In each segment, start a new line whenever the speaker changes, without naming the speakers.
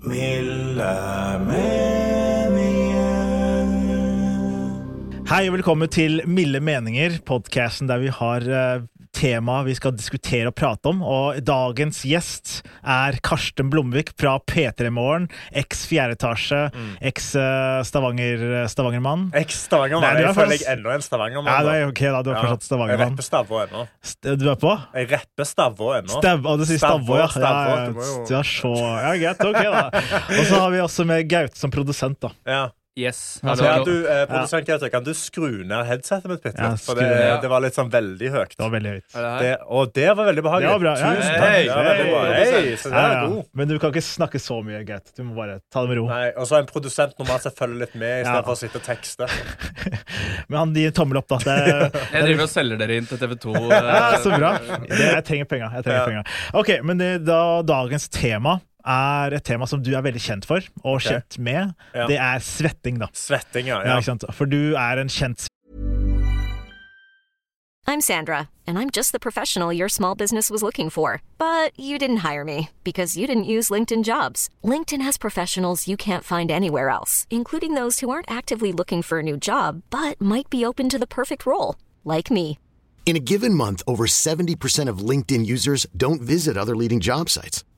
Milde meninger.
Hei og velkommen til Milde meninger, podcasten der vi har eh, tema vi skal diskutere og prate om. Og dagens gjest er Karsten Blomvik fra P3 Morgen, eks fjerde etasje,
Mm.
eks eh, Stavanger, Stavangermann. Nei,
Eks-Stavangermann.
du er
Jeg føler jeg
faktisk-
er enda en Stavangermann.
Ja, det
da.
er ok da, du er
Ja.
fortsatt
Jeg
Stavangermann.
rapper Stavå ennå.
St- Du er på?
Jeg rapper Stavå ennå.
Stav, og du sier Stavå, ja. ja,
Stavå,
ja,
du må jo-
ja, så, ja greit, ok da. Og så har vi også med Gaute som produsent, da.
Ja.
Yes.
Ja,
Hallo,
Kan
hallo.
du, eh, produsent Gaute, kan du skru ned headsetet mitt bitte
Ja,
litt? For
skru
det,
ned.
det var litt sånn veldig høyt.
Det var veldig høyt.
Er det her?
Det, og det var veldig behagelig.
Det var bra, ja, ja.
Tusen takk.
Hei,
ja, veldig bra.
hei.
Hei, så det
Ja,
er
ja.
god.
Men du kan ikke snakke så mye, Gaute. Du må bare ta det med ro.
Nei, og så en produsent normalt sett følger litt med,
Ja.
istedenfor for å sitte og tekste.
Men han gir en tommel opp, da. Det,
Jeg driver og selger dere inn til TV2.
Ja,
eh,
så bra. Det, jeg trenger penga. Jeg trenger
Ja.
penga. Ok, men det, da, dagens tema er et tema som du er veldig kjent for, og kjent med.
Ja.
Det er svetting, da.
Svetting, ja.
Ja,
ja.
ikke sant? For du er en kjent
I'm Sandra, and I'm just the professional your small business was looking for. But you didn't hire me because you didn't use LinkedIn jobs. LinkedIn has professionals you can't find anywhere else, including those who aren't actively looking for a new job but might be open to the perfect role, like me.
In a given month, over 70% of LinkedIn users don't visit other leading job sites.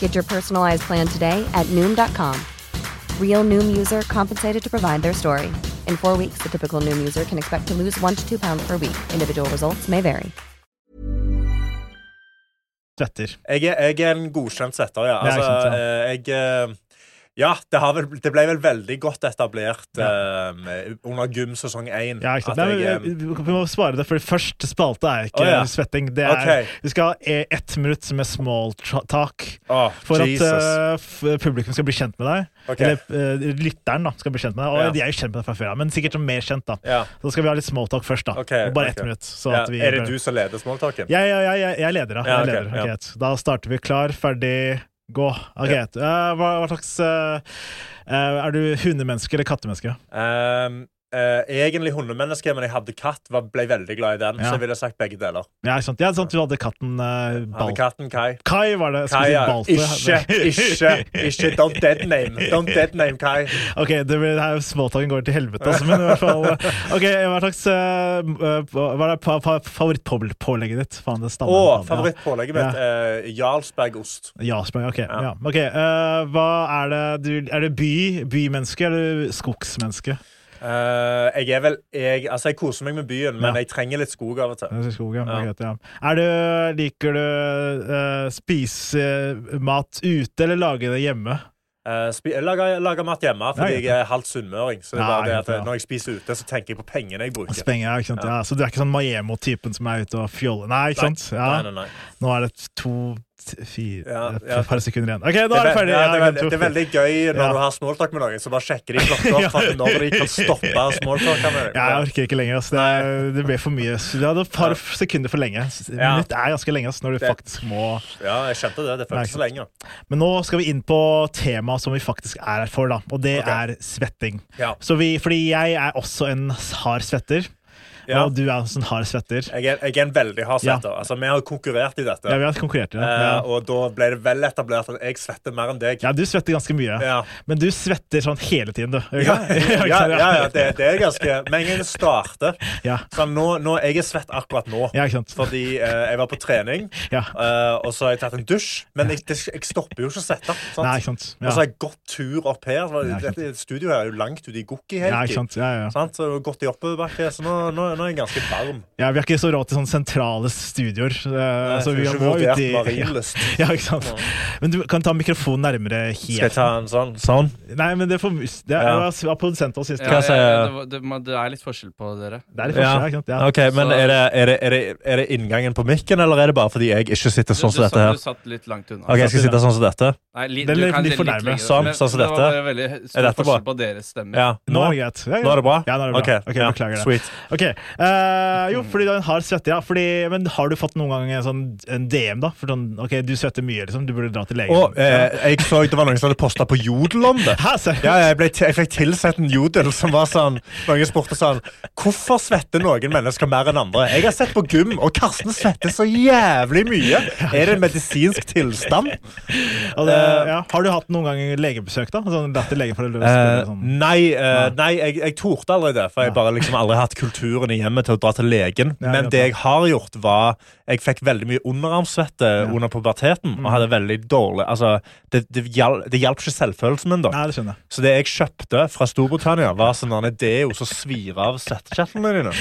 Get your personalized plan today at Noom.com. Real Noom user compensated to provide their story. In four weeks, the typical Noom user can expect to lose one to two pounds per week. Individual results may vary.
svetter.
Jeg er, jeg er en godkjent setter, ja.
Ja,
Altså,
jeg
eh, jeg eh, Ja, det, har vel, det ble vel veldig godt etablert eh, under gym sesong én.
Ja, ikke
at
sant? Nei,
jeg,
men,
eh,
vi vi må svare det, for første spalte er ikke
Å, ja.
svetting. Det er,
Ok.
Vi skal ha eh, ett minutt med small tra- talk
Å,
for
Jesus.
at eh, f- publikum skal bli kjent med deg.
Ok.
Eller eh, lytteren da, skal bli kjent med deg. Og
Ja.
de er jo kjent med deg fra før av, men sikkert mer kjent. da.
Ja.
Så skal vi ha litt small talk først. da.
Ok,
Og Bare ett
ok.
minutt. så
ja,
at vi-
er det du som leder smalltalken?
Jeg, jeg, jeg, jeg, jeg leder, da.
Ja,
jeg
ok,
leder. Ok,
ja.
greit. Da starter vi klar, ferdig, gå. Ok, greit. Eh, hva, hva slags eh, eh, Er du hundemenneske eller kattemenneske?
Ehm, eh, egentlig hundemenneske, men jeg hadde katt. Var, ble veldig glad i den,
Ja.
så jeg ville sagt begge deler.
Ja, ikke sant? ja, sant, du hadde katten eh,
Hadde
Bal...
katten Kai.
Kai var det.
Kai,
Skal vi
ja.
si
Ikke,
Balte?
ikke, ikke Don't deadname Don't deadname Kai.
Ok, det blir, her småtaken går til helvete også, men i hvert fall Ok, hva slags eh, eh, Hva er pa, pa, favorittpålegget ditt? Faen, det
Å,
stammer.
favorittpålegget mitt. eh, Jarlsbergost.
Ja, spør jeg. Ok. Ja. ok, eh, hva er det du Er det by, bymenneske eller skogsmenneske?
Eh, jeg er vel jeg, Altså, jeg koser meg med byen, men
Ja.
jeg trenger litt skog av og til.
Jeg synes skogen var
Ja.
greit, ja. Er du, liker du eh, spise mat ute eller lage det hjemme?
Eh, spi- jeg lager, lager mat hjemme fordi
Ja,
jeg er halvt sunnmøring. Så det er
Nei,
bare det at
ja.
når jeg spiser ute, så tenker jeg på pengene jeg bruker.
Spenge, ja, ikke sant? Ja. så du er ikke sånn Maiemo-typen som er ute og fjoller? Nei, ikke sant? Ja.
Nei, nei, nei.
Nå er det to, t- fire
Ja,
et
ja.
par sekunder igjen. Ok, nå er det ferdig.
Ja, det, er,
Ja,
veldig- det er veldig gøy når
Ja.
du har smalltalk med noen, så bare sjekker de klokka opp for at når de kan stoppe smalltalka med deg.
Ja, jeg orker ikke lenger. ass. Det, er- det ble for mye. Så Det hadde et par sekunder for lenge.
Ja.
Minutt er ganske lenge ass, når du
Det-
faktisk må
Ja, jeg skjønte det. Det
Nei,
føltes så lenge.
Men nå skal vi inn på temaet som vi faktisk er her for, da. Og det
Ok.
er svetting.
Ja.
Så vi, fordi jeg er også en hard svetter,
Ja.
og du er også en hard svetter.
Jeg er, jeg er en veldig hard
Ja.
svetter. Altså, vi har konkurrert i dette.
Ja, vi har konkurrert i det.
Eh,
Ja.
og da ble det vel etablert at jeg svetter mer enn deg.
ja, du svetter ganske mye.
Ja.
Men du svetter sånn hele tiden, du.
Ja, ja, ja, ja, det,
det.
det er ganske Med en gang det starter
Ja.
Sånn, nå, nå, Jeg er svett akkurat nå.
Ja, ikke sant.
Fordi eh, jeg var på trening,
Ja.
eh, og så har jeg tatt en dusj. Men jeg, det, jeg stopper jo ikke å svette. sant?
Nei, ikke sant. Ja.
Og så har jeg gått tur opp her. Så,
Ja, ikke sant.
dette studioet her er jo langt ute i Gokki.
Ja, ikke sant. Ja, ja.
Sant? Så jeg har gått i oppoverbakke, så nå, nå, nå er den ganske varm.
Ja, Vi har ikke så råd til sånne sentrale studioer. eh, så
får
vi
ikke
må ut
vurdert
i
Marienlyst.
Ja, ikke sant? Men du kan ta mikrofonen nærmere
Skal jeg
helt.
ta en sånn? Sånn?
Nei, men det, får, det er,
Ja.
det var produsenten vår sist.
Ja,
Hva sier
ja,
jeg?
det, var- det, må- det er litt forskjell på dere.
Det er litt forskjell, ikke sant? Ja.
OK, men
Så-
er det, er, det, er, det, er det inngangen på mikken, eller er det bare fordi jeg ikke sitter sånn som
du, du,
dette
satt,
her?
du satt litt langt unna.
OK, jeg skal sitte sånn som dette.
Nei, li,
Den
du
er
kan
litt
se
for
litt
nærme.
lenger.
Sånn,
Men-
sånn som
men Det var
dette.
bare veldig
Er
stor
dette bra?
forskjell på deres stemmer.
Ja.
Nå er det greit. Ja, ja.
Nå er det bra?
Ja, nå er det bra.
Ok,
Ok,
ja,
Beklager det.
Sweet.
Ok, eh, Jo, fordi du har en hard svette, ja. Fordi, men har du fått noen gang en sånn en DM, da? For sånn, ok, du svetter mye, liksom. Du burde dra til legen.
Og eh, jeg så det var noen som hadde posta på Jodel om det.
Hæ, ser du?
Ja, jeg, ble til- jeg fikk tilsett en jodel som var sånn Noen spurte sånn Hvorfor svetter noen mennesker mer enn andre? Jeg har sett på gym, og Karsten svetter så jævlig mye. Er det en medisinsk tilstand?
Og det,
eh,
ja. Har du hatt noen gang legebesøk, da? Sånn, dratt til legen for å løse
Eh,
sånn.
nei, eh, nei jeg, jeg torde aldri det. For jeg bare liksom aldri hatt kulturen i hjemmet til å dra til legen.
Ja,
Men
nettopp.
det jeg har gjort, var Jeg fikk veldig mye underarmsvette under puberteten.
Mm.
Og hadde veldig dårlig Altså, det, det, hjal, det hjalp ikke selvfølelsen min, da.
Nei, det skjønner jeg.
Så det jeg kjøpte fra Storbritannia, var sånn en deo som svir av svettekjertlene dine.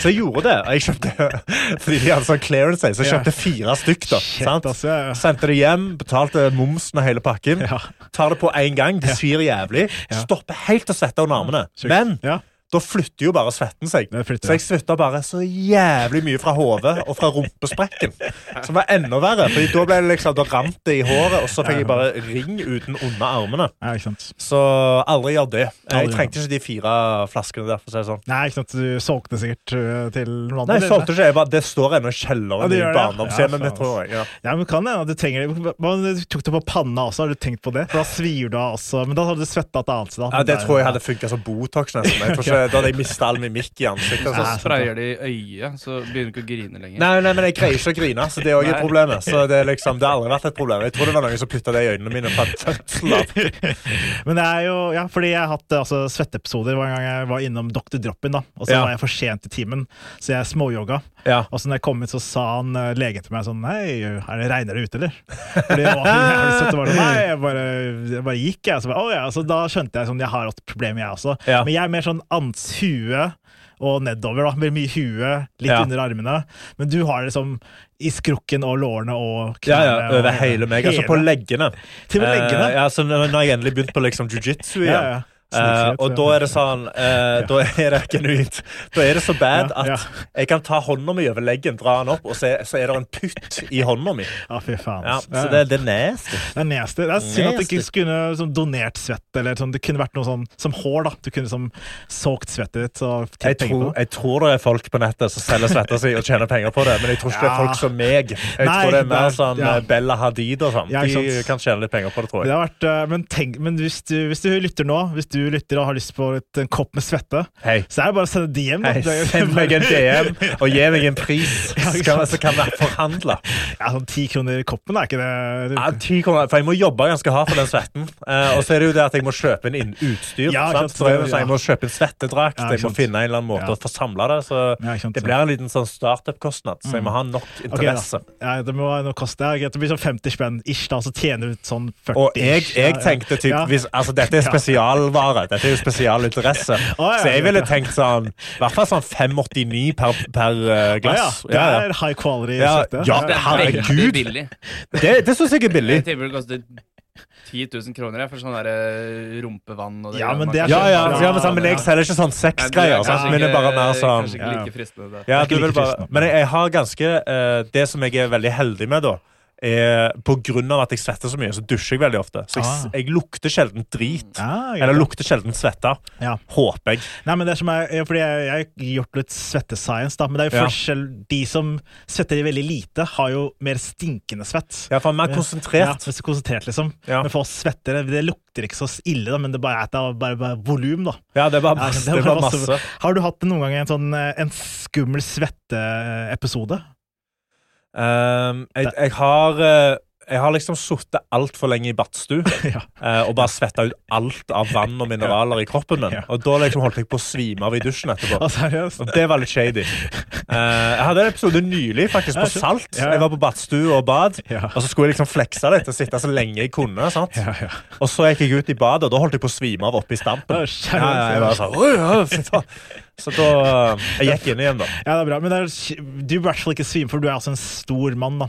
Så jeg gjorde det. Og jeg kjøpte fordi de hadde sånn clearance day, så jeg
Ja.
kjøpte fire stykk. da
Shit,
sant?
ass, ja, ja.
Sendte det hjem, betalte momsen og hele pakken.
Ja.
Tar det på én gang, det svir jævlig. Stopper helt å svette under armene.
Sjukt.
Men
Ja.
da flytter jo bare svetten seg.
Det flytter,
Så jeg svetta bare så jævlig mye fra hodet og fra rumpesprekken. Som var enda verre, Fordi da ble det liksom, da rant det i håret, og så fikk jeg bare ring uten under armene.
Ja, ikke sant.
Så aldri gjør det.
Aldri
Jeg
gjør
trengte ikke de fire flaskene der. for å si det sånn.
Nei, ikke sant. Du solgte det sikkert øh, til noen andre.
Nei, jeg
eller?
solgte ikke. Jeg bare, det står ennå i
Ja,
kjelleren
det
i
gjør det, ja.
barndomshjemmet
Ja,
mitt. tror jeg. Ja.
Ja, men kan det, at du trenger det. Men Du tok det på panna også, har du tenkt på det? For da svir du av også. Men da hadde du svetta et annet sted. da.
Ja, det
Men
tror jeg
der-
hadde funka som Botox. nesten. Jeg tror ikke, Da hadde jeg mista all mimikk i ansiktet.
Så
Altså.
sprayer de i øyet, så begynner du ikke å grine lenger.
Nei, nei, men jeg greier ikke å grine. så Det er også et
Nei.
problem. Så det, er liksom, det har aldri vært et problem. Jeg tror det var noen som putta det i øynene mine. fra fødselen av.
Men det er jo, ja, fordi jeg har hatt eh, altså, svetteepisoder hver gang jeg var innom Dr. Drop-in. da, Og så
Ja.
var jeg for sent i timen, så jeg småyoga.
Ja.
Og så når jeg kom ut, så sa han eh, legen til meg sånn Hei, er det regner det ute, eller? Fordi det var så jævlig søtt. Det var sånn, Nei, jeg bare, jeg bare gikk, jeg. Så, bare, «Å ja. så da skjønte jeg sånn, jeg har hatt problemer, jeg også.
Ja.
Men jeg er mer sånn ans hue og nedover. da, Med mye hue, litt
Ja.
under armene. Men du har det liksom i skrukken og lårene og
Ja, ja,
knærne. og
Over hele meg. Altså på leggene.
Til og med leggene.
Eh, ja, så når når jeg endelig begynte på liksom jiu-jitsu igjen.
Ja, ja.
eh, og da er det sånn eh, Da er det genuint. Da er det så bad
Ja, ja.
at jeg kan ta hånda mi over leggen, dra den opp, og så er, så er det en putt i hånda mi.
Ja, fy faen.
Ja,
ass.
så det, det er nasty.
Det er nasty. Det er synd at det ikke
Nasty.
skulle sånn, donert svett. Eller sånn, det kunne vært noe sånn som hår. da Du kunne liksom såkt svettet ditt. Og tjent
Jeg tror,
penger på det.
jeg tror det er folk på nettet som selger svetta si og tjener penger på det, men jeg tror ikke det er
Ja.
folk som meg. Jeg
Nei,
tror det er mer
det er-
sånn
ja.
eh, Bella Hadid og sånn.
Ja, ikke
De
sant.
kan tjene litt penger på det, tror
Det
jeg.
har vært, eh, men tenk, men hvis, du, hvis du lytter nå Hvis du lytter og har lyst på et, en kopp med svette,
Hei.
så er det bare å sende DM. da.
Hei,
Det er-
send meg en DM og gi meg en pris,
Ja, ikke
skal,
sant.
så kan vi forhandle.
ja, sånn ti kroner i koppen, er ikke det?
Ja, 10 kroner, for jeg må jobbe ganske hardt for den svetten. Eh, og så er det jo det at jeg må kjøpe inn inn utstyr.
Ja,
sant?
ikke sant,
Så jeg, så
ja.
jeg må kjøpe en svettedrakt,
Ja, ikke
jeg må
sant.
finne en eller annen måte
Ja.
å få samla det. Så
Ja, ikke sant,
det
ja.
blir en liten sånn startup-kostnad, så jeg må ha nok
Ok, da.
interesse.
ja, det må være noe koste. Ja, greit, Det blir sånn 50 spenn ish, da, så tjener du ut sånn 40
Og jeg,
ish.
jeg
Ja, ja.
tenkte typ,
Ja.
hvis, altså Dette er spesialvare. Dette er jo spesialinteresse.
ja,
Så jeg
ja,
ville
ja.
tenkt sånn i hvert fall sånn 589 per, per eh,
ja, ja.
glass.
Det er high quality
Ja,
svette.
ja,
Det er
herregud.
veldig billig.
Det, det syns jeg er billig.
Jeg tipper det koster 10 000 kroner jeg, for sånn der eh, rumpevann og det.
Ja,
greiene
men
man
det er
kan
Ja,
kjøpe.
ja,
bra,
ja, men, sånn, men jeg
ja.
selger ikke sånn
Nei, men det
sexgreier.
kanskje
sant? Men det er
ikke-
bare mer sånn
Kanskje
Ja,
ikke
ja.
like fristende. det.
ja,
Det er ikke
du vil
like
bare,
fristende.
Men jeg, jeg har ganske eh, Det som jeg er veldig heldig med, da er på grunn av at jeg svetter så mye, så dusjer jeg veldig ofte. Så jeg, s-
Ah.
jeg lukter sjelden drit.
Ah, greit.
Eller lukter sjelden svette.
Ja.
Håper jeg.
Nei, men det som er, ja, fordi jeg, jeg har gjort litt svettescience, da, men det er jo
Ja.
forskjell De som svetter veldig lite, har jo mer stinkende svett.
Jeg er faen mer
Ja,
konsentrert.
hvis du er konsentrert, liksom.
Ja.
Men for oss svettere, det lukter ikke så ille, da, men det bare er at det er bare, bare volum, da.
Ja, det er bare
Ja,
masse.
det
Det
var
er bare
masse-
masse.
Har du hatt noen gang en sånn eh, en skummel svetteepisode?
Ehm, jeg,
Det-
jeg har eh, Jeg har liksom sittet altfor lenge i badstue
ja.
eh, og bare svetta ut alt av vann og mineraler i kroppen min.
Ja.
Og da liksom holdt jeg på å svime av i dusjen etterpå.
Å, seriøst?
Og det var litt shady. Eh, jeg hadde en episode nylig faktisk på
Ja,
Salt.
ja, ja.
Jeg var på badstue og bad,
Ja.
og så skulle jeg liksom flekse litt og sitte så lenge jeg kunne. sant?
Ja, ja.
Og så gikk jeg ut i badet, og da holdt jeg på å svime av oppe i stampen.
Å, seriøst?
Ja, ja, jeg var sånn, «Oi, ja, fy faen». Så da Jeg gikk inn igjen, da.
Ja, det er bra, men det er, du blir i hvert fall ikke svimfull, for du er altså en stor mann, da.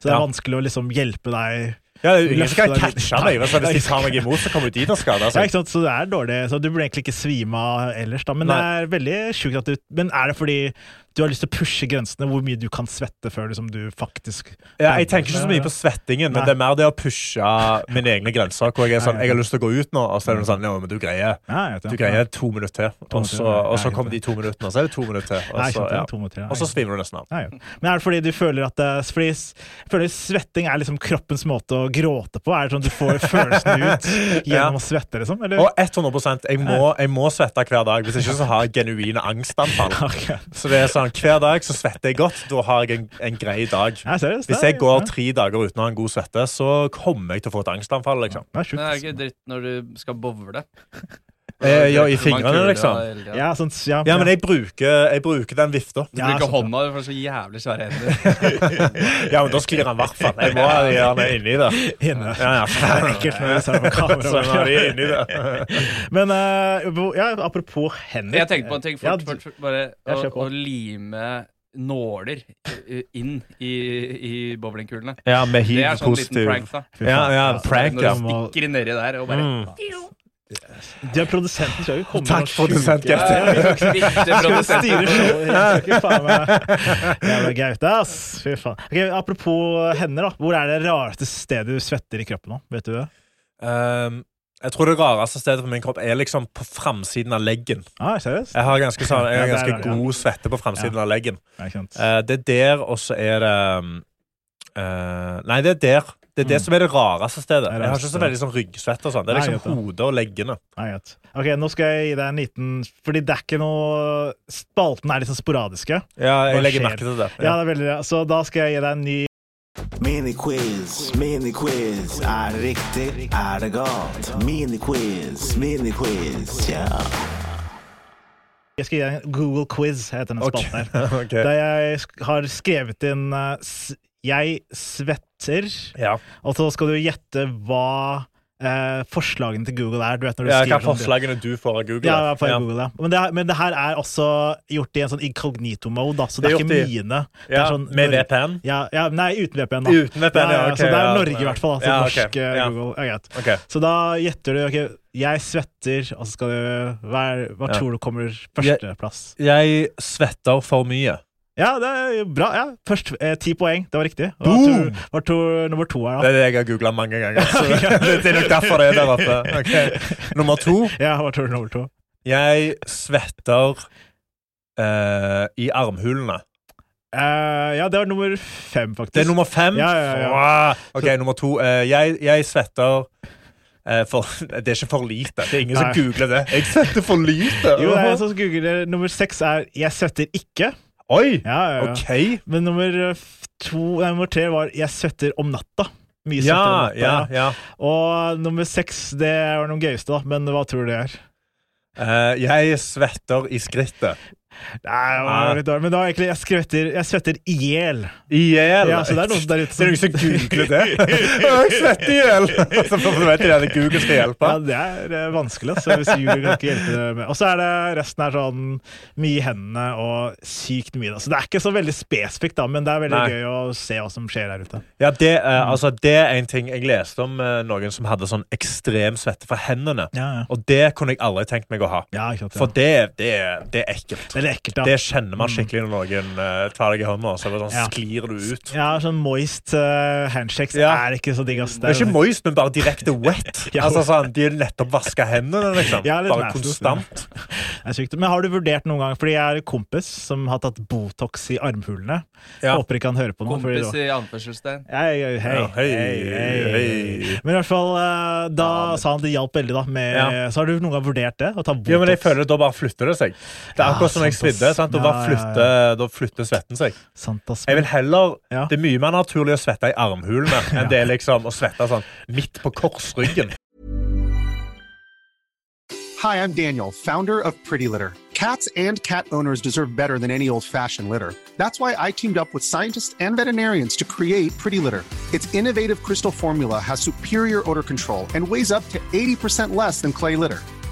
Så det er
Ja.
vanskelig å liksom hjelpe deg.
Ja, det er jo ingen som kan
Løfte deg litt.
catche meg. Så hvis de tar meg imot, så kommer jo de til å skade
Ja,
seg.
ikke sant? Så det er dårlig. Så du burde egentlig ikke svime av ellers, da. Men
Nei.
det er veldig sjukt at du Men er det fordi du har lyst til å pushe grensene, hvor mye du kan svette før liksom, du faktisk
Ja, jeg tenker ikke så mye på svettingen, men
Nei.
det er mer det å pushe mine egne grenser. Hvor jeg er sånn, jeg har lyst til å gå ut nå, og så er det sånn, ja, men du greier,
Ja, jeg vet det.
du greier to minutter til. Og
minutter,
så,
ja.
og
Ja,
så
jeg
kommer de
vet
to minuttene, og så er det to minutter til. Og
Nei, jeg
så,
skjønte det, to minutter, ja,
altså, og så
jeg
svimer du nesten av.
Ja, ja. Men er det fordi du føler at det, fordi, s- Føler svetting er liksom kroppens måte å gråte på? Er det sånn du får følelsen ut
Ja.
gjennom å svette, liksom? Eller?
Og 100 jeg må, jeg må svette hver dag, hvis ikke så har jeg genuine angstanfall.
Ok.
Så det er sånn, Hver dag så svetter jeg godt. Da har jeg en, en grei dag.
Ja, seriøst,
Hvis
det er-
jeg går tre dager uten å ha en god svette, så kommer jeg til å få et angstanfall. liksom.
Det er sjukt.
Men det er
ass.
ikke dritt når du skal bowle.
Eh, ja, i
Man kuler
fingrene,
deg
liksom.
hele tiden.
Ja, sånn, ja,
Ja, men jeg bruker, jeg bruker den vifta.
Du
Ja,
bruker
sant.
hånda, du får så jævlig svære hender.
Ja, men da sklir han i hvert fall. Jeg må ha de gjerne inni det.
Inne.
Ja, ja.
Det er ekkelt når jeg ser det
Så
på
nå er de
kamera.
inni det.
Men eh, hvor- ja, apropos hender
Jeg tenkte på en ting
Ja,
fort.
du-
fort, fort bare
Ja,
å,
kjør på.
å lime nåler eh, inn i, i bowlingkulene.
Ja, med
Det er sånn liten prank, da.
Fy faen.
Ja,
altså,
ja, prank, ja. Mm.
Når du stikker nedi der og bare
Du er produsenten, så jeg vil komme
Takk, produsent Gaute.
Skal
Gaute.
styre showet. Jeg skal ikke faen meg- Jævla Gaute, ass. Fy faen. Ok, apropos hender, da. Hvor er det rareste stedet du svetter i kroppen nå? Vet du det?
Um, jeg tror det rareste stedet på min kropp er liksom på framsiden av leggen.
Ah, seriøst?
Jeg har ganske, sånn, jeg har
Ja, der er
ganske
det, ja.
god svette på framsiden av leggen.
Nei, ikke sant.
Eh, det er der, og så er det um, eh, Nei, det er der. Det er
Mm.
det som er det rareste stedet. Jeg har ikke så veldig sånn ryggsvette og sånn. Det er
Nei,
liksom hodet og leggene.
Nei, greit. Ok, nå skal jeg gi deg en liten Fordi det er ikke noe Spaltene er litt sånn sporadiske.
Ja, jeg
Hva
legger
skjer?
merke til det.
Ja, det er veldig Så da skal jeg gi deg en ny
Miniquiz, miniquiz. Er det riktig? Er det galt? Miniquiz, miniquiz, ja.
Jeg skal gi deg en Google quiz, heter denne
Ok.
spalten her.
Ok.
Der jeg sk- har skrevet inn eh, s- Jeg svetter,
Ja.
og så skal du gjette hva eh, forslagene til Google er. Du vet når du
Ja, hva
skriver
er
sånn-
forslagene du får av Google?
Ja,
da?
i hvert fall Google, ja. Men, det, er- men det her er også gjort i en sånn incognito-mode, da, så det
Det
er
er
ikke
gjort i-
mine. Det
Ja,
er sånn,
med
Nor-
VPN?
Ja, ja, nei, uten VPN, da.
Uten VPN, ja, ok,
så det er
ja.
Norge, i hvert fall. Altså
Ja, ok,
norsk eh,
ja.
Google. Ja, greit.
Ok.
Så da gjetter du. ok, jeg svetter, og så skal du Hva, er- hva
Ja.
tror du kommer førsteplass?
Jeg svetter for mye.
Ja, det er jo bra. ja. Først eh, ti poeng. Det var riktig. Hva
Boom!
tror- Hva tror nummer to
Det
er, da?
er det jeg har googla mange ganger. Så det, det er nok derfor det er der oppe. Ok. Nummer to.
Ja, hva tror du nummer to?
Jeg svetter eh, i armhulene.
Eh, ja, det var nummer fem, faktisk.
Det er nummer fem.
Ja, ja, ja.
Wow. Ok, nummer to. Eh, jeg, jeg svetter eh, for, Det er ikke for lite. Det er ingen
Nei.
som googler det. Jeg svetter for lite!
Jo, det er jeg som googler. Nummer seks er 'jeg svetter ikke'.
Oi!
Ja, ja, ja.
OK.
Men nummer, eh, f- to, nei, nummer tre var 'jeg svetter om natta'.
Ja,
Mye svettere om
ja, ja.
natta. ja. Og nummer seks, det var noen gøyeste, da. Men hva tror du det er?
Eh, jeg svetter i skrittet.
Nei, det
Ah.
var litt dårlig. Men det var egentlig 'jeg skvetter Jeg svetter i hjel'.
I hjel!
Ja, så det er noen der ute som-
Det er noen som googler det. Jeg svetter i hjel!
Altså,
Så får du vite at Google skal hjelpe.
Ja, det er eh, vanskelig, så hvis Google kan ikke hjelpe det med Og så er det resten er sånn mye i hendene og sykt mye, da. Så det er ikke så veldig spesifikt, da, men det er
Nei.
veldig gøy å se hva som skjer der ute.
Ja, det, eh, altså, det er en ting jeg leste om eh, noen som hadde sånn ekstrem svette fra hendene.
Ja, ja.
Og det kunne jeg aldri tenkt meg å ha.
Ja, ikke sant, ja.
For det, det, det er ekkelt.
Det er litt ekkelt, ja. Mm.
Det kjenner man skikkelig når noen eh, tar deg i hånda, og så bare sånn,
Ja.
sklir du ut.
Ja, sånn moist eh, handshakes
Ja.
er ikke så digg, ass.
Det er ikke moist, men bare direkte wet.
Ja.
Altså sånn, De har nettopp vaska hendene, liksom.
Ja, litt
bare
nasty.
konstant.
Det er sykt. Men har du vurdert noen gang, fordi jeg har en kompis som har tatt Botox i armhulene
Ja.
Håper ikke han hører på noe. fordi
Kompis
da-
i anførselstegn.
Hei, hei, hei,
Ja, hei, hei.
Men i hvert fall, eh, da sa han det hjalp veldig, da. Med,
Ja.
Så har du noen gang vurdert det? Å ta Botox?
Ja, men jeg føler Da bare flytter det seg. Det er
Ja,
akkurat som jeg
sant, ass.
svidde. sant? Da bare
Ja, ja, ja.
flytter, da flytter svetten seg.
Sant, ass.
Jeg vil heller,
Ja.
Det er mye mer naturlig å svette i armhulene enn det er liksom å svette sånn midt på korsryggen.
Hi, I'm Daniel, founder of Pretty Litter. Cats and cat owners deserve better than any old fashioned litter. That's why I teamed up with scientists and veterinarians to create Pretty Litter. Its innovative crystal formula has superior odor control and weighs up to 80% less than clay litter.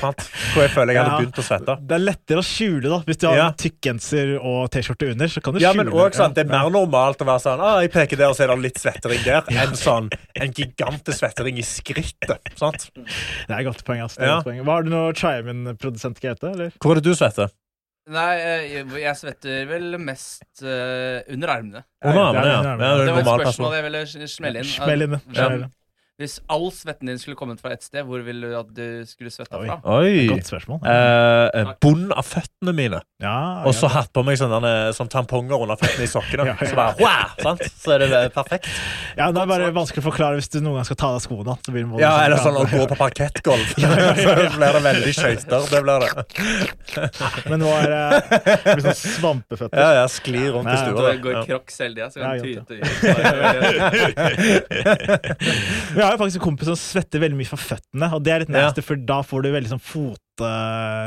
Sant? Hvor jeg føler jeg hadde
Ja.
begynt å svette.
Det er lettere å skjule, da. Hvis du har
Ja.
en tykk genser og T-skjorte under, så kan du
Ja,
skjule
men også, sant, Det er
Ja.
mer normalt å være sånn ah, jeg peker der, og så er det litt svettering der, enn sånn en gigantisk svettering i skrittet. sant?
Det er et godt poeng. ass. Det er et
Ja.
godt poeng. Hva Har du noe Chiamin-produsent, Gaute? eller?
Hvor er det du svetter?
Nei, jeg, jeg svetter vel mest eh, under armene.
Under armene, ja.
under
ja.
armene.
Det er
Det
en
var et
normal
spørsmål
person.
jeg ville sm- smelle inn.
Smell inn,
At-
smell inn.
Hvis all svetten din skulle kommet fra ett sted, hvor ville du at du skulle svetta
Oi.
fra?
Oi.
Godt spørsmål.
Eh, bond av føttene mine,
Ja,
og så
Ah, ja.
hatt på meg sånne, sånn tamponger under føttene i sokkene.
Ja, ja.
Så bare, wow, sant? Så er det eh, perfekt.
ja, det er bare vanskelig å forklare hvis du noen gang skal ta av skoene. da. Så blir det
Ja, Eller sånn å gå på parkettgulv. Så blir det veldig skøyter. Det blir det.
Men nå er det det blir sånn svampeføtter.
Ja, ja, Skli rundt i
Nei,
stua.
Da
da.
går
Ja.
crocs hele tida, så kan
Ja,
du
jeg
tyte ut.
Vi har jo faktisk en kompis som svetter veldig mye fra føttene, og det er litt
Ja.
nasty, for da får du veldig sånn eh,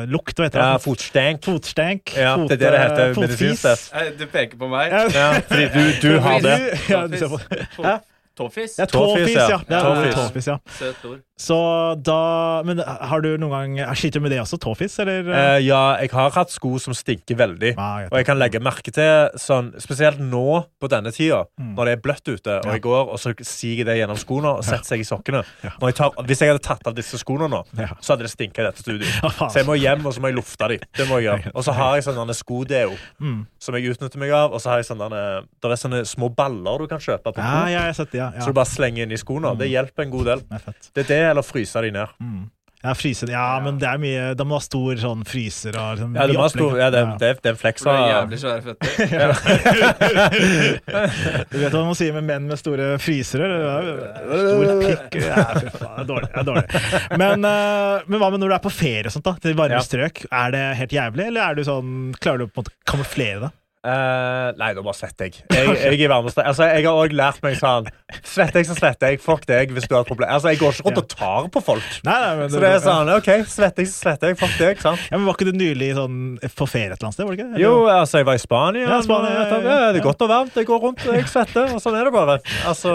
fotlukt. Hva heter
Ja,
det?
Fotstenk.
Fotstenk.
Ja, det er det det heter
fotfis.
medisinsk sett.
Nei, Du peker på meg.
Ja,
Ja, fordi du, du har det.
Ja, du ser på
Tåfis. Tåfis.
Det er
Tåfis,
tåfis,
ja.
ja. Det er
Tåfis.
tåfis, ja.
Søt ord.
Så da Men har du noen gang Sliter du med det også? Tåfis, eller?
Eh, ja, jeg har hatt sko som stinker veldig.
Ah, jeg vet
Og jeg kan legge merke til, sånn, spesielt nå på denne tida, når det er bløtt ute, og
Mm. Ja.
jeg går, og så siger det gjennom skoene og setter seg i sokkene.
Ja.
Når jeg tar, hvis jeg hadde tatt av disse skoene nå,
Ja.
så hadde det stinket i dette
Ja,
studioet.
faen.
Så jeg må hjem, og så må jeg lufte dem. Det må jeg gjøre. Og så har jeg sånn denne skodeo
Mm.
som jeg utnytter meg av, og så har jeg sånn denne, der er sånne små baller du kan kjøpe på
Ah, ja,
Coop,
ja, jeg har sett det. Ja, ja.
så du bare slenger inn i skoene. Det hjelper en god del.
Det er fett. Mm.
Det er det, eller fryse de ned.
Ja, fryse, ja, men det er mye Da må du ha stor sånn fryser og liksom,
Ja, det,
mye
var stor,
opplegg.
ja, det, det, det er en fleks
For du har
av
jævlig svære føtter.
Du vet hva man sier med menn med store frysere? Det er- Stor pikk ja, fy faen, det er dårlig. Det er dårlig. Men, eh, men hva med når du er på ferie og sånt, da? Til varme
Ja.
strøk. Er det helt jævlig, eller er du sånn Klarer du å på en måte kamuflere det?
Eh, nei, nå bare svetter jeg. Jeg, jeg, er varmest, altså, jeg har òg lært meg sånn Svetter jeg, så svetter jeg. Fuck deg hvis du har et problem. Altså, jeg går ikke rundt og tar på folk.
Nei, nei, men
Så det er sånn OK, svetter jeg, så svetter jeg. Fuck deg. sant?
Ja, men Var ikke du nylig sånn på ferie et eller annet sted? var det ikke? det?
Jo, altså, jeg var i Spania.
Ja, Spania,
men, vet du,
ja, ja.
det er godt og varmt. Jeg går rundt og jeg svetter, og sånn er det bare. Altså,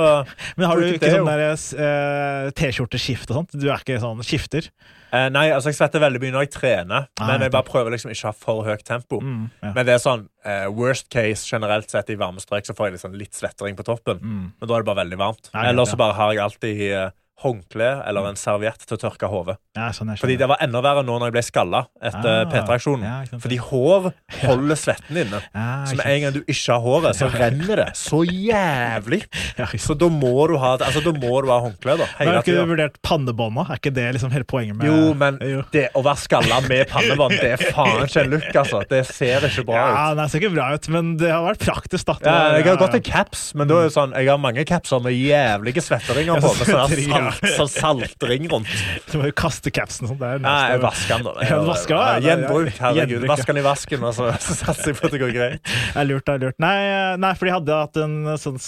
Men har du
bruker
ikke
det
sånn
jo.
der, eh, T-skjorteskift og sånt? Du er ikke sånn skifter?
Eh, nei, altså, jeg svetter veldig mye når jeg trener,
Ah,
men jeg
nettopp. Mm.
bare prøver liksom ikke å ha for høyt tempo.
ja.
Men det er sånn eh, worst case generelt sett i varme strøk, så får jeg liksom litt svettering på toppen. Men da er det bare veldig varmt.
Nei,
Eller
Mm. ja.
så bare har jeg alltid eh, håndkle eller en serviett til å tørke hodet.
Ja, sånn jeg skjønner.
Fordi det var enda verre nå når jeg ble skalla etter
Ah,
P3-aksjonen.
ja, ikke sant.
Fordi hår holder svetten inne.
Ja,
Så
ikke
med en gang du ikke har håret, så renner det så jævlig.
Ja, ikke
Så da må du ha, altså, da må du ha håndkle da,
Men
hele
har ikke
tida.
du vurdert pannebånda? Er ikke det liksom hele poenget med
Jo, men
Jo.
det å være skalla med pannebånd, det er faen ikke en look, altså. Det ser ikke bra
Ja,
ut.
nei, det ser ikke bra ut, men det har vært praktisk, da. Det
Ja,
var-
jeg har
ja,
gått til caps, men da er det sånn, jeg har mange capser med jævlige svetteringer på. Med sånn
svettering, ja.
salt, sånn saltring rundt.
ja. Du må jo kaste capsen og sånn. Det er
Nei, jeg
nesten-
vasker den, da.
Ja, du vasker den, ja.
ja, gjenbruk, herregud.
Gjenbruk, ja.
Vasker den i vasken, og så, så satser jeg på at det går greit.
Det er lurt, det er lurt. Nei, nei, for de hadde hatt en sånn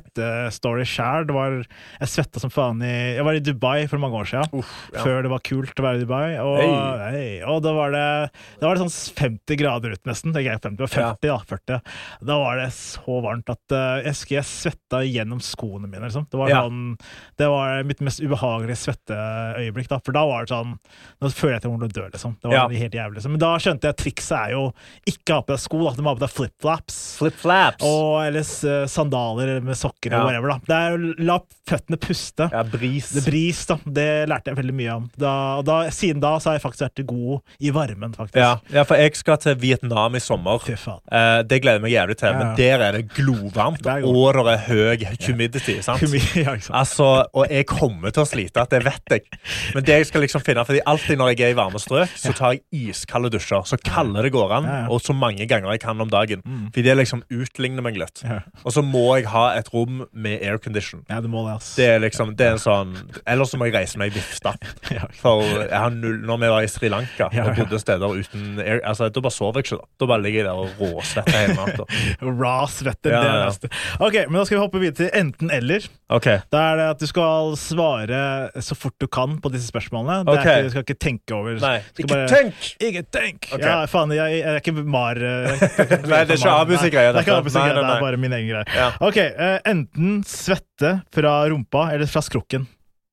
svettestory sjæl. Det var Jeg svetta som faen i Jeg var i Dubai for mange år siden.
ja.
Før det var kult å være i Dubai. Og,
Hei.
hei, og da var det Da var det sånn 50 grader ute, nesten. Det er ikke 50, det var 50, da. 40. Da var det så varmt at eh, jeg husker jeg svetta gjennom skoene mine, liksom. Det var,
Ja.
sånn, det var mitt mest ubehagelige svetteøyeblikk, da. For da var det sånn Nå føler jeg at jeg kommer til å dø, liksom. Det var
Ja.
helt jævlig, liksom. Men da skjønte jeg at trikset er jo ikke ha på deg sko, da. du må ha på deg flipflaps.
Flip-flaps.
Og eller s- eh, sandaler eller med sokker
Ja.
eller whatever. da. Det er å La føttene puste.
Ja, bris.
Det bris, da. Det lærte jeg veldig mye om. Da, og da, siden da så har jeg faktisk vært god i varmen, faktisk.
Ja, ja, for jeg skal til Vietnam i sommer.
Fy faen.
Eh, det gleder jeg meg jævlig til. Men
Ja.
der er det glovarmt,
Der går det.
og det er høy humidity. sant?
Humid- ja, ikke sant?
Altså, og jeg kom kommer til å slite. Det vet jeg. Men det jeg skal liksom finne, fordi alltid når jeg er i varme strøk, så tar jeg iskalde dusjer. Så kalde det går an,
Ja, ja.
og så mange ganger jeg kan om dagen. Fordi det liksom utligner meg litt.
Ja.
Og så må jeg ha et rom med aircondition.
Ja, du må det, ass.
Det er liksom, det er en sånn Ellers så må jeg reise meg vifta.
Ja.
For jeg har null Når vi var i Sri Lanka
Ja,
og
ja.
bodde steder uten air Altså, Da bare sover jeg ikke. da Da bare ligger jeg der og råsvetter hele natta.
Raw svette.
Ja,
det er
ja, ja.
det verste. Ok, men da skal vi hoppe videre til enten-eller.
Okay.
Da er det at du skal svare så fort du kan på disse spørsmålene. Det
Ok.
er ikke, du skal ikke tenke over
Nei.
Skal
Ikke
bare-
tenk!
Ikke tenk!
Ok.
Ja, faen, jeg, jeg er ikke Mar... eh, Nei, det
Nei, det er ikke Abus' greie,
Det er ikke
dette.
Abus'
Nei, nei,
greie, det
nei.
er bare min egen greie.
Ja.
Ok, eh, enten svette fra rumpa eller fra skrukken.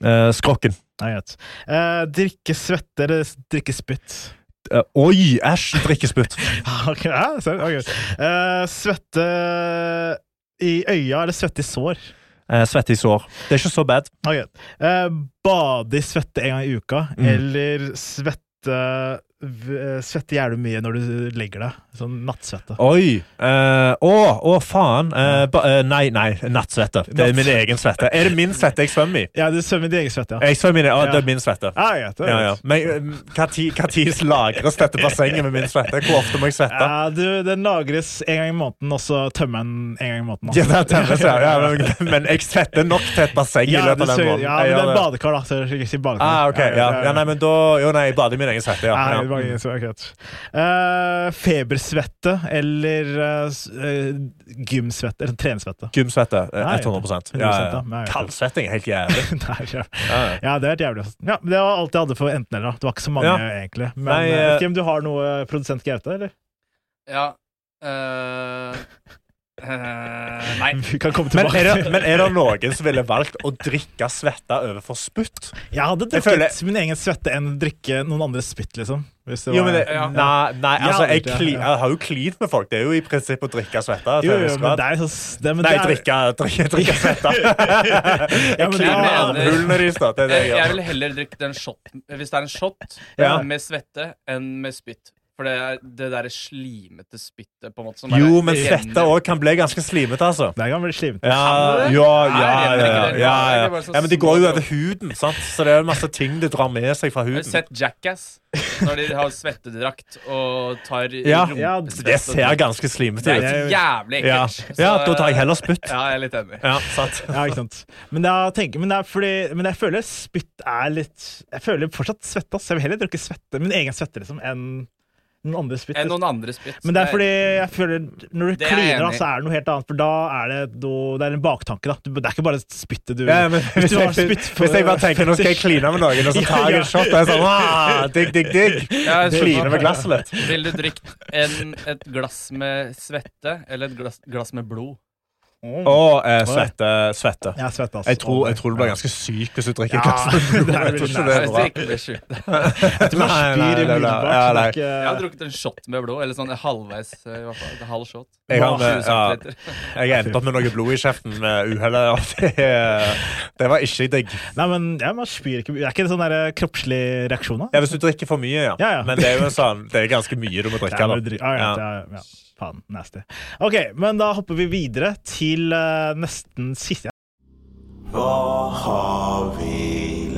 Eh, skrokken.
Nei, greit. Eh, drikke svette eller s- drikke spytt.
Eh, oi, æsj! Drikkespytt.
Ok, ja, så- ok. Eh, svette i øya eller svette i sår.
Eh, svette i sår. Det er ikke så bad.
Ok. Eh, bade i svette en gang i uka,
Mm.
eller svette v- eh, Svette jævlig mye når du legger deg. Sånn nattsvette.
Oi! eh, Å, å, faen! Eh, ba, eh, nei, nei. Nattsvette. Det er min egen svette. Er det min svette jeg svømmer i?
Ja, du svømmer i din egen svette, ja.
Jeg svømmer i det. Ja, det
Ja.
er min svette.
Ja, ja, det er
Eh. Ja, ja.
greit.
Men eh, hva tid- hva tid lagres dette bassenget med min svette? Hvor ofte må jeg svette?
Ja, du, den lagres en gang i måneden, og så tømmer den en gang i måneden. altså.
Ja, det er tennis, ja. ja men, men jeg svetter nok til et basseng i
Ja,
løpet
du
av den
søker,
måneden.
ja,
Jeg
men det
gjør
er
det.
badekar, da. Så jeg sier badekar.
Ah, ok, ja. ja, nei, men da Jo, nei, jeg bader i min egen svette, ja.
Nei, det var
ja.
ingen som var akkurat. Eh, febersvette eller eh, s- eh, gymsvette eller treningssvette.
Gymsvette. eh, 100
Nei,
ja,
100%, ja.
ja.
Nei, ja.
Kaldsvetting er helt jævlig.
Nei, ja.
Ja, ja.
ja, det er helt jævlig. ass. Ja, men det var alt jeg hadde for enten-eller. da. Det var ikke så mange,
Ja.
egentlig. Men
Nei,
eh,
eh,
Kim, du har noe eh, produsent Gaute, eller?
Ja. eh, eh, nei.
Vi kan komme
Men
tilbake.
er, det, men er det noen som ville valgt å drikke svette overfor spytt?
Jeg hadde
Jeg
drukket
føler-
min egen svette enn å drikke noen andres spytt, liksom. Hvis det
Jo,
var-
men det,
Ja.
nei, nei, altså, jeg,
Ja,
kli,
ja.
jeg har jo klint med folk. Det er jo i prinsippet å drikke svette. til
jo,
en
jo,
viss
men
grad.
det er jo så- det- men
Nei,
det er-
drikke, drikke, drikke svette.
Ja,
Jeg
men
kliner med
da-
armhulene deres, da. Det er det jeg
Jeg, jeg
gjør.
vil heller drikke den shoten, hvis det er en shot,
Ja.
med svette enn med spytt. For det er det derre slimete spyttet, på en måte. Som bare
Jo, men
renner.
fette òg kan bli ganske slimete, altså.
Det kan bli slimt.
Ja,
Kan
ja,
det? Nei,
ja,
jeg
ja,
mener ikke det.
ja,
Det er
ja.
bare så
ja Men det går jo
små-
over huden, sant? så det er jo masse ting det drar med seg fra
Har du
huden.
sett Jackass? Når de har svettedrakt og tar
Ja,
Ja,
Det ser ganske
Det
slimete
er
ut.
så jævlig
Ja.
ekkelt.
ja,
Så,
da tar jeg heller spytt.
Ja, jeg er litt enig.
Ja, sant.
Ja, ikke sant. Men, da tenker, men, det er fordi, men jeg føler spytt er litt Jeg føler fortsatt svette. ass. Jeg vil heller drukke svette, min egen svette liksom, enn noen andres spytt. liksom.
Enn noen andre spytt.
Men det er fordi jeg føler når du
Det er jeg
kliner, da,
enig i.
så er det noe helt annet. For da er det, noe- det er en baktanke. da. Du- Det er ikke bare spyttet du
Ja, men hvis,
Hvis du har
jeg,
spytt for-
hvis jeg bare tenker nå skal jeg kline med noen, og så tar jeg en shot, og jeg er sånn ah, digg, digg, digg.
Ja, jeg
Kline
skjønner.
med glasset litt.
Ville du drikt en, et glass med svette eller et glass, glass med blod?
Mm.
Og eh, svette. svette.
Jeg er svett, altså.
Jeg tror, jeg tror du blir ganske syk hvis du drikker kassen.
det er
Jeg tror ikke
veldig
det er
Hvis
bra.
det ikke blir sjukt.
Nei, nei,
Spyr
det er bra.
umiddelbart.
Ja,
så det
nei.
er ikke-
Jeg har drukket en shot med blod, eller sånn halvveis. eh, I hvert fall, et halv shot.
Jeg har-
20
ja.
centiliter.
Jeg endte opp med noe blod i kjeften med uhellet. og Det, det var ikke digg.
Nei, men ja, man spyr ikke Det er ikke en sånn der kroppslig reaksjon, da?
Ja, hvis du drikker for mye, ja.
Ja, ja.
Men det er jo sånn, det er ganske mye du må drikke.
Ja,
da.
men dri- ja, ja, ja, ja. Faen, nasty. Ok, men da hopper vi videre til eh, nesten siste.
Hva har vi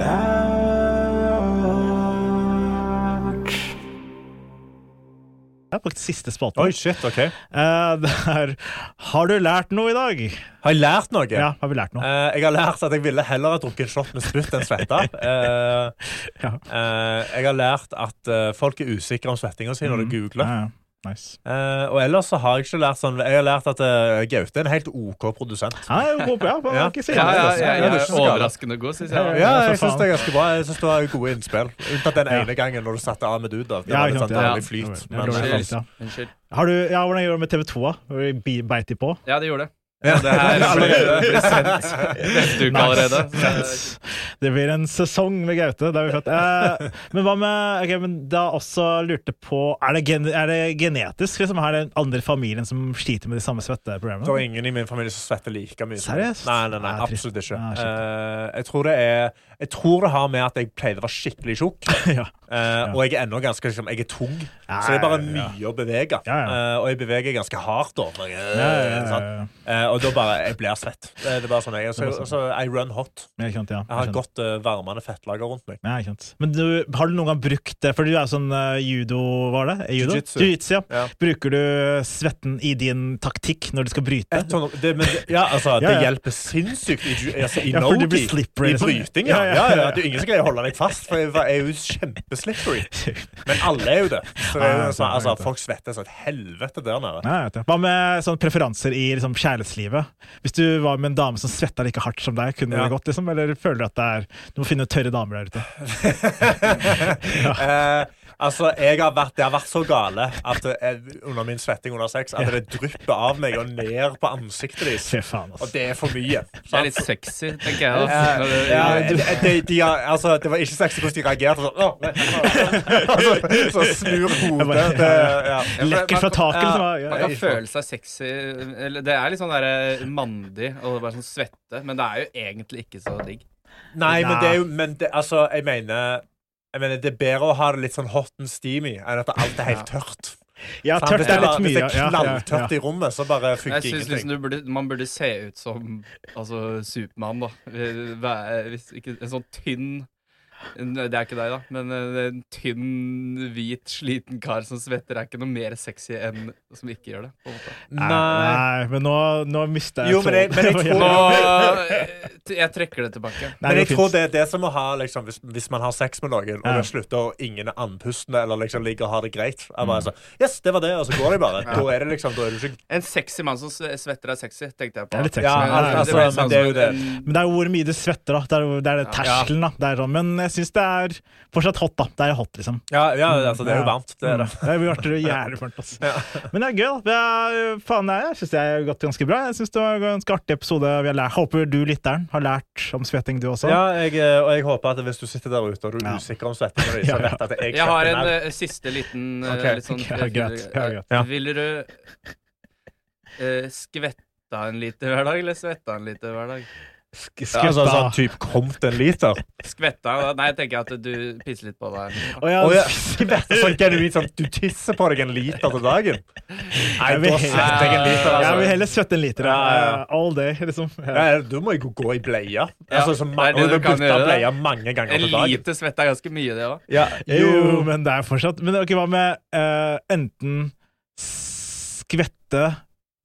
lært?
Det er faktisk siste spalten.
Oi, shit, ok.
Eh, det er Har du lært noe i dag?
Har jeg lært noe?
Ja, har vi lært noe?
Eh, jeg har lært at jeg ville heller ha drukket en shot med spytt enn svette. Eh,
Ja.
eh, jeg har lært at eh, folk er usikre om svettinga si
Mm.
når de googler.
Ja, ja. Nice.
Eh, og ellers så har jeg ikke lært sånn Jeg har lært at eh, Gaute er en helt OK produsent.
Han er jo god på ja, på-
Ja.
ikke så
Ja,
jævlig,
ja,
altså.
Ja, det er
ja, jeg
ikke
er
så galt.
overraskende god, syns jeg.
Ja,
Ja,
for
jeg syns
faen.
det er ganske bra. Jeg synes det var gode innspill. Unntatt den ene gangen når du satte av med du, da. Det var
Ja, ikke
litt
sant,
sånn
ja.
dårlig flyt.
Ja,
Men,
dårlig
eh,
flyt, ja.
Unnskyld.
Har du, ja, hvordan gjør du med TV 2? da? Hvor de bi- Beit de på?
Ja, det gjorde det.
Ja.
det her ble, ble sendt neste uke allerede. Så,
Nice. Det blir en sesong med Gaute. Det er vi født. Eh, men hva med ok, men da også lurte på Er det, gen, er det genetisk? Liksom, er det andre familien som sliter med de samme
Det er
svetteproblemene?
ingen i min familie som svetter like mye. som
Seriøst?
meg. Nei, nei, nei,
Nei, trist.
absolutt ikke.
Nei, shit.
Eh, jeg, tror det er, jeg tror det har med at jeg pleide å være skikkelig tjukk.
ja.
Eh, og jeg er ennå ganske liksom, Jeg er tung, så det er bare mye å bevege.
Ja, ja.
Eh, og jeg beveger ganske hardt. Da, når jeg,
ja, ja, ja.
sant? Eh, og da bare Jeg blir svett. Det, det er bare sånn jeg er. Så,
Det er bare
så I run hot.
Ja, ikke sant, ja.
Jeg har
skjønner.
et godt eh, varmende fettlager rundt meg.
Ja, ikke sant. Men du, har du noen gang brukt det? For du er jo sånn eh, judo, var det? Eh, Judo?
Jiu-jitsu.
Jiu-jitsu, ja.
Ja.
Bruker du svetten i din taktikk når du skal bryte?
Et tonn- det, men, det- ja, altså,
Ja, ja.
det hjelper sinnssykt i, ju- altså, i
Ja, for du blir
no-gi.
slippery,
I
liksom.
bryting, ja.
Ja, ja.
ja, ja, Det er ingen som greier å holde deg fast, for jeg var- jeg er jo kjempeslippery. Men alle er jo det. Så det er jo
Ja, Ah, ja,
sånn,
sant,
altså,
sant.
folk svetter som et helvete der nede.
Nei, jeg vet det. Hva med sånne preferanser i liksom, kjærlighetslivet? Hvis du var med en dame som svetta like hardt som deg, kunne
Ja.
det gått? Liksom? Eller føler du at det er Du må finne tørre damer der ute.
Eh, altså, jeg har vært, Det har vært så gale at jeg, under min svetting under sex at det drypper av meg og ned på ansiktet deres.
Fy faen,
Og
altså.
det er for mye.
Det er litt sexy, tenker jeg.
Ja,
da. Når du-
ja, de, de, de, har- altså, det var ikke sexy hvordan de reagerte. Sånn, «Åh, nei, åh». Og så, så snur hodet. Det, ja.
Lekker fra taket, liksom. Ja,
Man
ja.
kan føle seg sexy eller Det er litt sånn der, eh, mandig og det er bare sånn svette, men det er jo egentlig ikke så digg.
Nei, men det er jo men det, Altså, jeg mener jeg mener, Det er bedre å ha det litt sånn hot and steamy enn at alt er helt tørt.
ja
Sant?
tørt
Hvis
er litt
bare-
mye.
Hvis det
Ja,
er
ja, ja.
knalltørt i rommet, så bare
Jeg
funker
synes
ingenting.
liksom du burde, Man burde se ut som altså, Supermann, da. Eh, væ- Hvis ikke, en sånn tynn det er ikke deg, da, men eh, en tynn, hvit, sliten kar som svetter er ikke noe mer sexy enn som ikke gjør det. på en måte.
Nei, men nå, nå mista jeg
Jo, men jeg- men jeg tror-
Nå, eh, t- jeg trekker det tilbake.
Nei,
Men
det
jeg
går
tror
fint.
det er det som å ha liksom, hvis, hvis man har sex med noen, og
Ja.
det slutter, og ingen er andpustne eller liksom ligger og har det greit er
Mm.
bare sånn, Yes, det var det, og så går de bare. Da er det liksom Da er du ikke
En sexy mann som s- svetter er sexy, tenkte jeg på.
Det er litt sexy.
Ja,
men-
Men
altså,
ble
men
sånn
det er jo det.
som en-
Men det er jo hvor mye du svetter, da. Det er, jo- det er det terskelen, da. Det er sånn. Men jeg syns det er fortsatt hot, da. Det er hot, liksom.
Ja, ja altså, det er jo
Ja.
varmt. Det er det.
Mm. Det blir artigere jævlig varmt, altså. Men det er gøy, da. Jeg, faen, jeg syns jeg har gått ganske bra. Jeg synes det var en ganske artig episode. Vi har lært. Håper du lytteren har lært om svetting, du også.
Ja, jeg, eh, og jeg håper at hvis du sitter der ute og du er
Ja.
usikker om svetten, din,
Ja,
så
ja.
vet at jeg
Jeg har
svetter
en
mer.
eh, siste liten eh,
Ok,
litt sånn,
ok, ja, greit, ja, greit.
Ja.
Vil du eh, skvetta en liter hver dag, eller svetta en liter hver dag?
Sk
Ja, altså,
skvetta.
sånn typ komt en liter.
Skvetta Nei, jeg tenker at du pisser litt på deg.
Å, ja.
Og jeg skvetter sånn genuint sånn Du tisser på deg en liter til dagen. Nei,
Jeg vil-
da svetter jeg en liter.
Jeg vil
Altså.
heller svette en liter.
Ja, ja, ja.
eh, All day, liksom.
Ja,
Ja.
ja, du må jo gå i bleia. Altså, så
det
ma
er det
og
du
du
kan
bytter
gjøre, da.
bleia mange ganger
En
til dagen.
liter svette er ganske mye, det òg.
Ja,
Jo, men det er fortsatt Men ok, hva med eh, enten skvette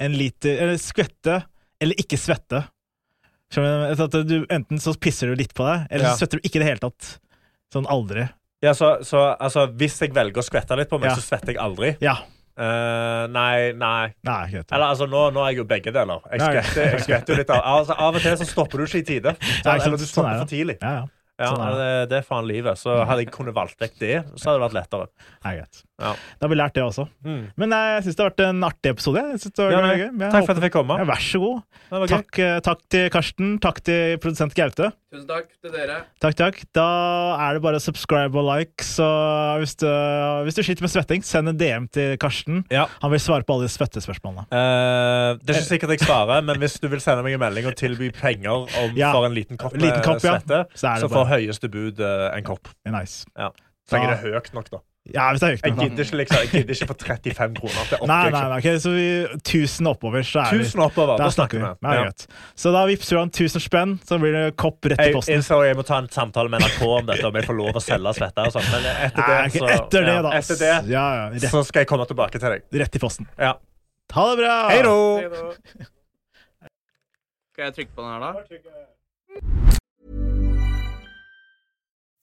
en liter Eller skvette eller ikke svette. Skjønner du? hva jeg mener? Sånn at du, enten så pisser du litt på deg, eller
Ja.
så svetter du ikke i det hele tatt. Sånn aldri.
ja, så, så altså, hvis jeg velger å skvette litt på meg,
Ja.
så svetter jeg aldri.
Ja.
Eh, nei, nei.
Nei, greit.
Eller altså, nå, nå er jeg jo begge deler. Jeg
Ja, ja.
skvetter, jeg skvetter jo litt av altså, Av og til så stopper du ikke i tide.
Nei, ikke sant.
Eller du
Sånn er
stopper
det.
for tidlig.
Ja, ja.
Ja,
Sånn er Mm.
det, det er faen livet. Så hadde jeg kunnet valgt vekk det, så hadde det vært lettere.
Nei, greit.
Ja.
Da har vi lært det også. Men eh, jeg syns det har vært en artig episode. Jeg synes det var
Ja,
veldig
nei,
gøy. Men jeg
takk for at jeg fikk
håper-
komme.
Ja, vær så god.
Det var gøy.
Takk, eh, takk til Karsten. Takk til produsent Gaute.
Tusen takk til dere.
Takk, takk. Da er det bare å subscribe og like. Så hvis du, hvis du sliter med svetting, send en DM til Karsten.
Ja.
Han vil svare på alle de svettespørsmålene.
Eh, det er ikke sikkert jeg svarer, men hvis du vil sende meg en melding og tilby penger om,
Ja.
for en liten kopp,
Liten kopp, ja.
svette,
Så er det
så får
bare-
høyeste bud eh, en kopp.
Det er Nice.
Ja. Trenger det høyt nok, da.
Ja, hvis det er høyt
Jeg
nok. da.
gidder ikke, liksom, jeg gidder ikke for 35 kroner. Det orker
Nei, nei,
jeg ikke.
nei, ok, så vi, tusen oppover, så er
Tusen oppover,
Da
da snakker
snakker vi.
vi.
Nei,
Ja.
greit. Så da vippser du han 1000 spenn, så blir det kopp rett i
Jeg
posten.
innså jeg må ta en samtale med NRK om dette, om jeg får lov å selge svette. Og sånn, men etter
Nei,
det,
ok,
så,
etter det,
ja,
da.
etter det
Ja, ja, rett,
så skal jeg komme tilbake til deg.
rett i posten.
Ja.
Ha det bra!
Hei då!
Skal jeg trykke på den her, da?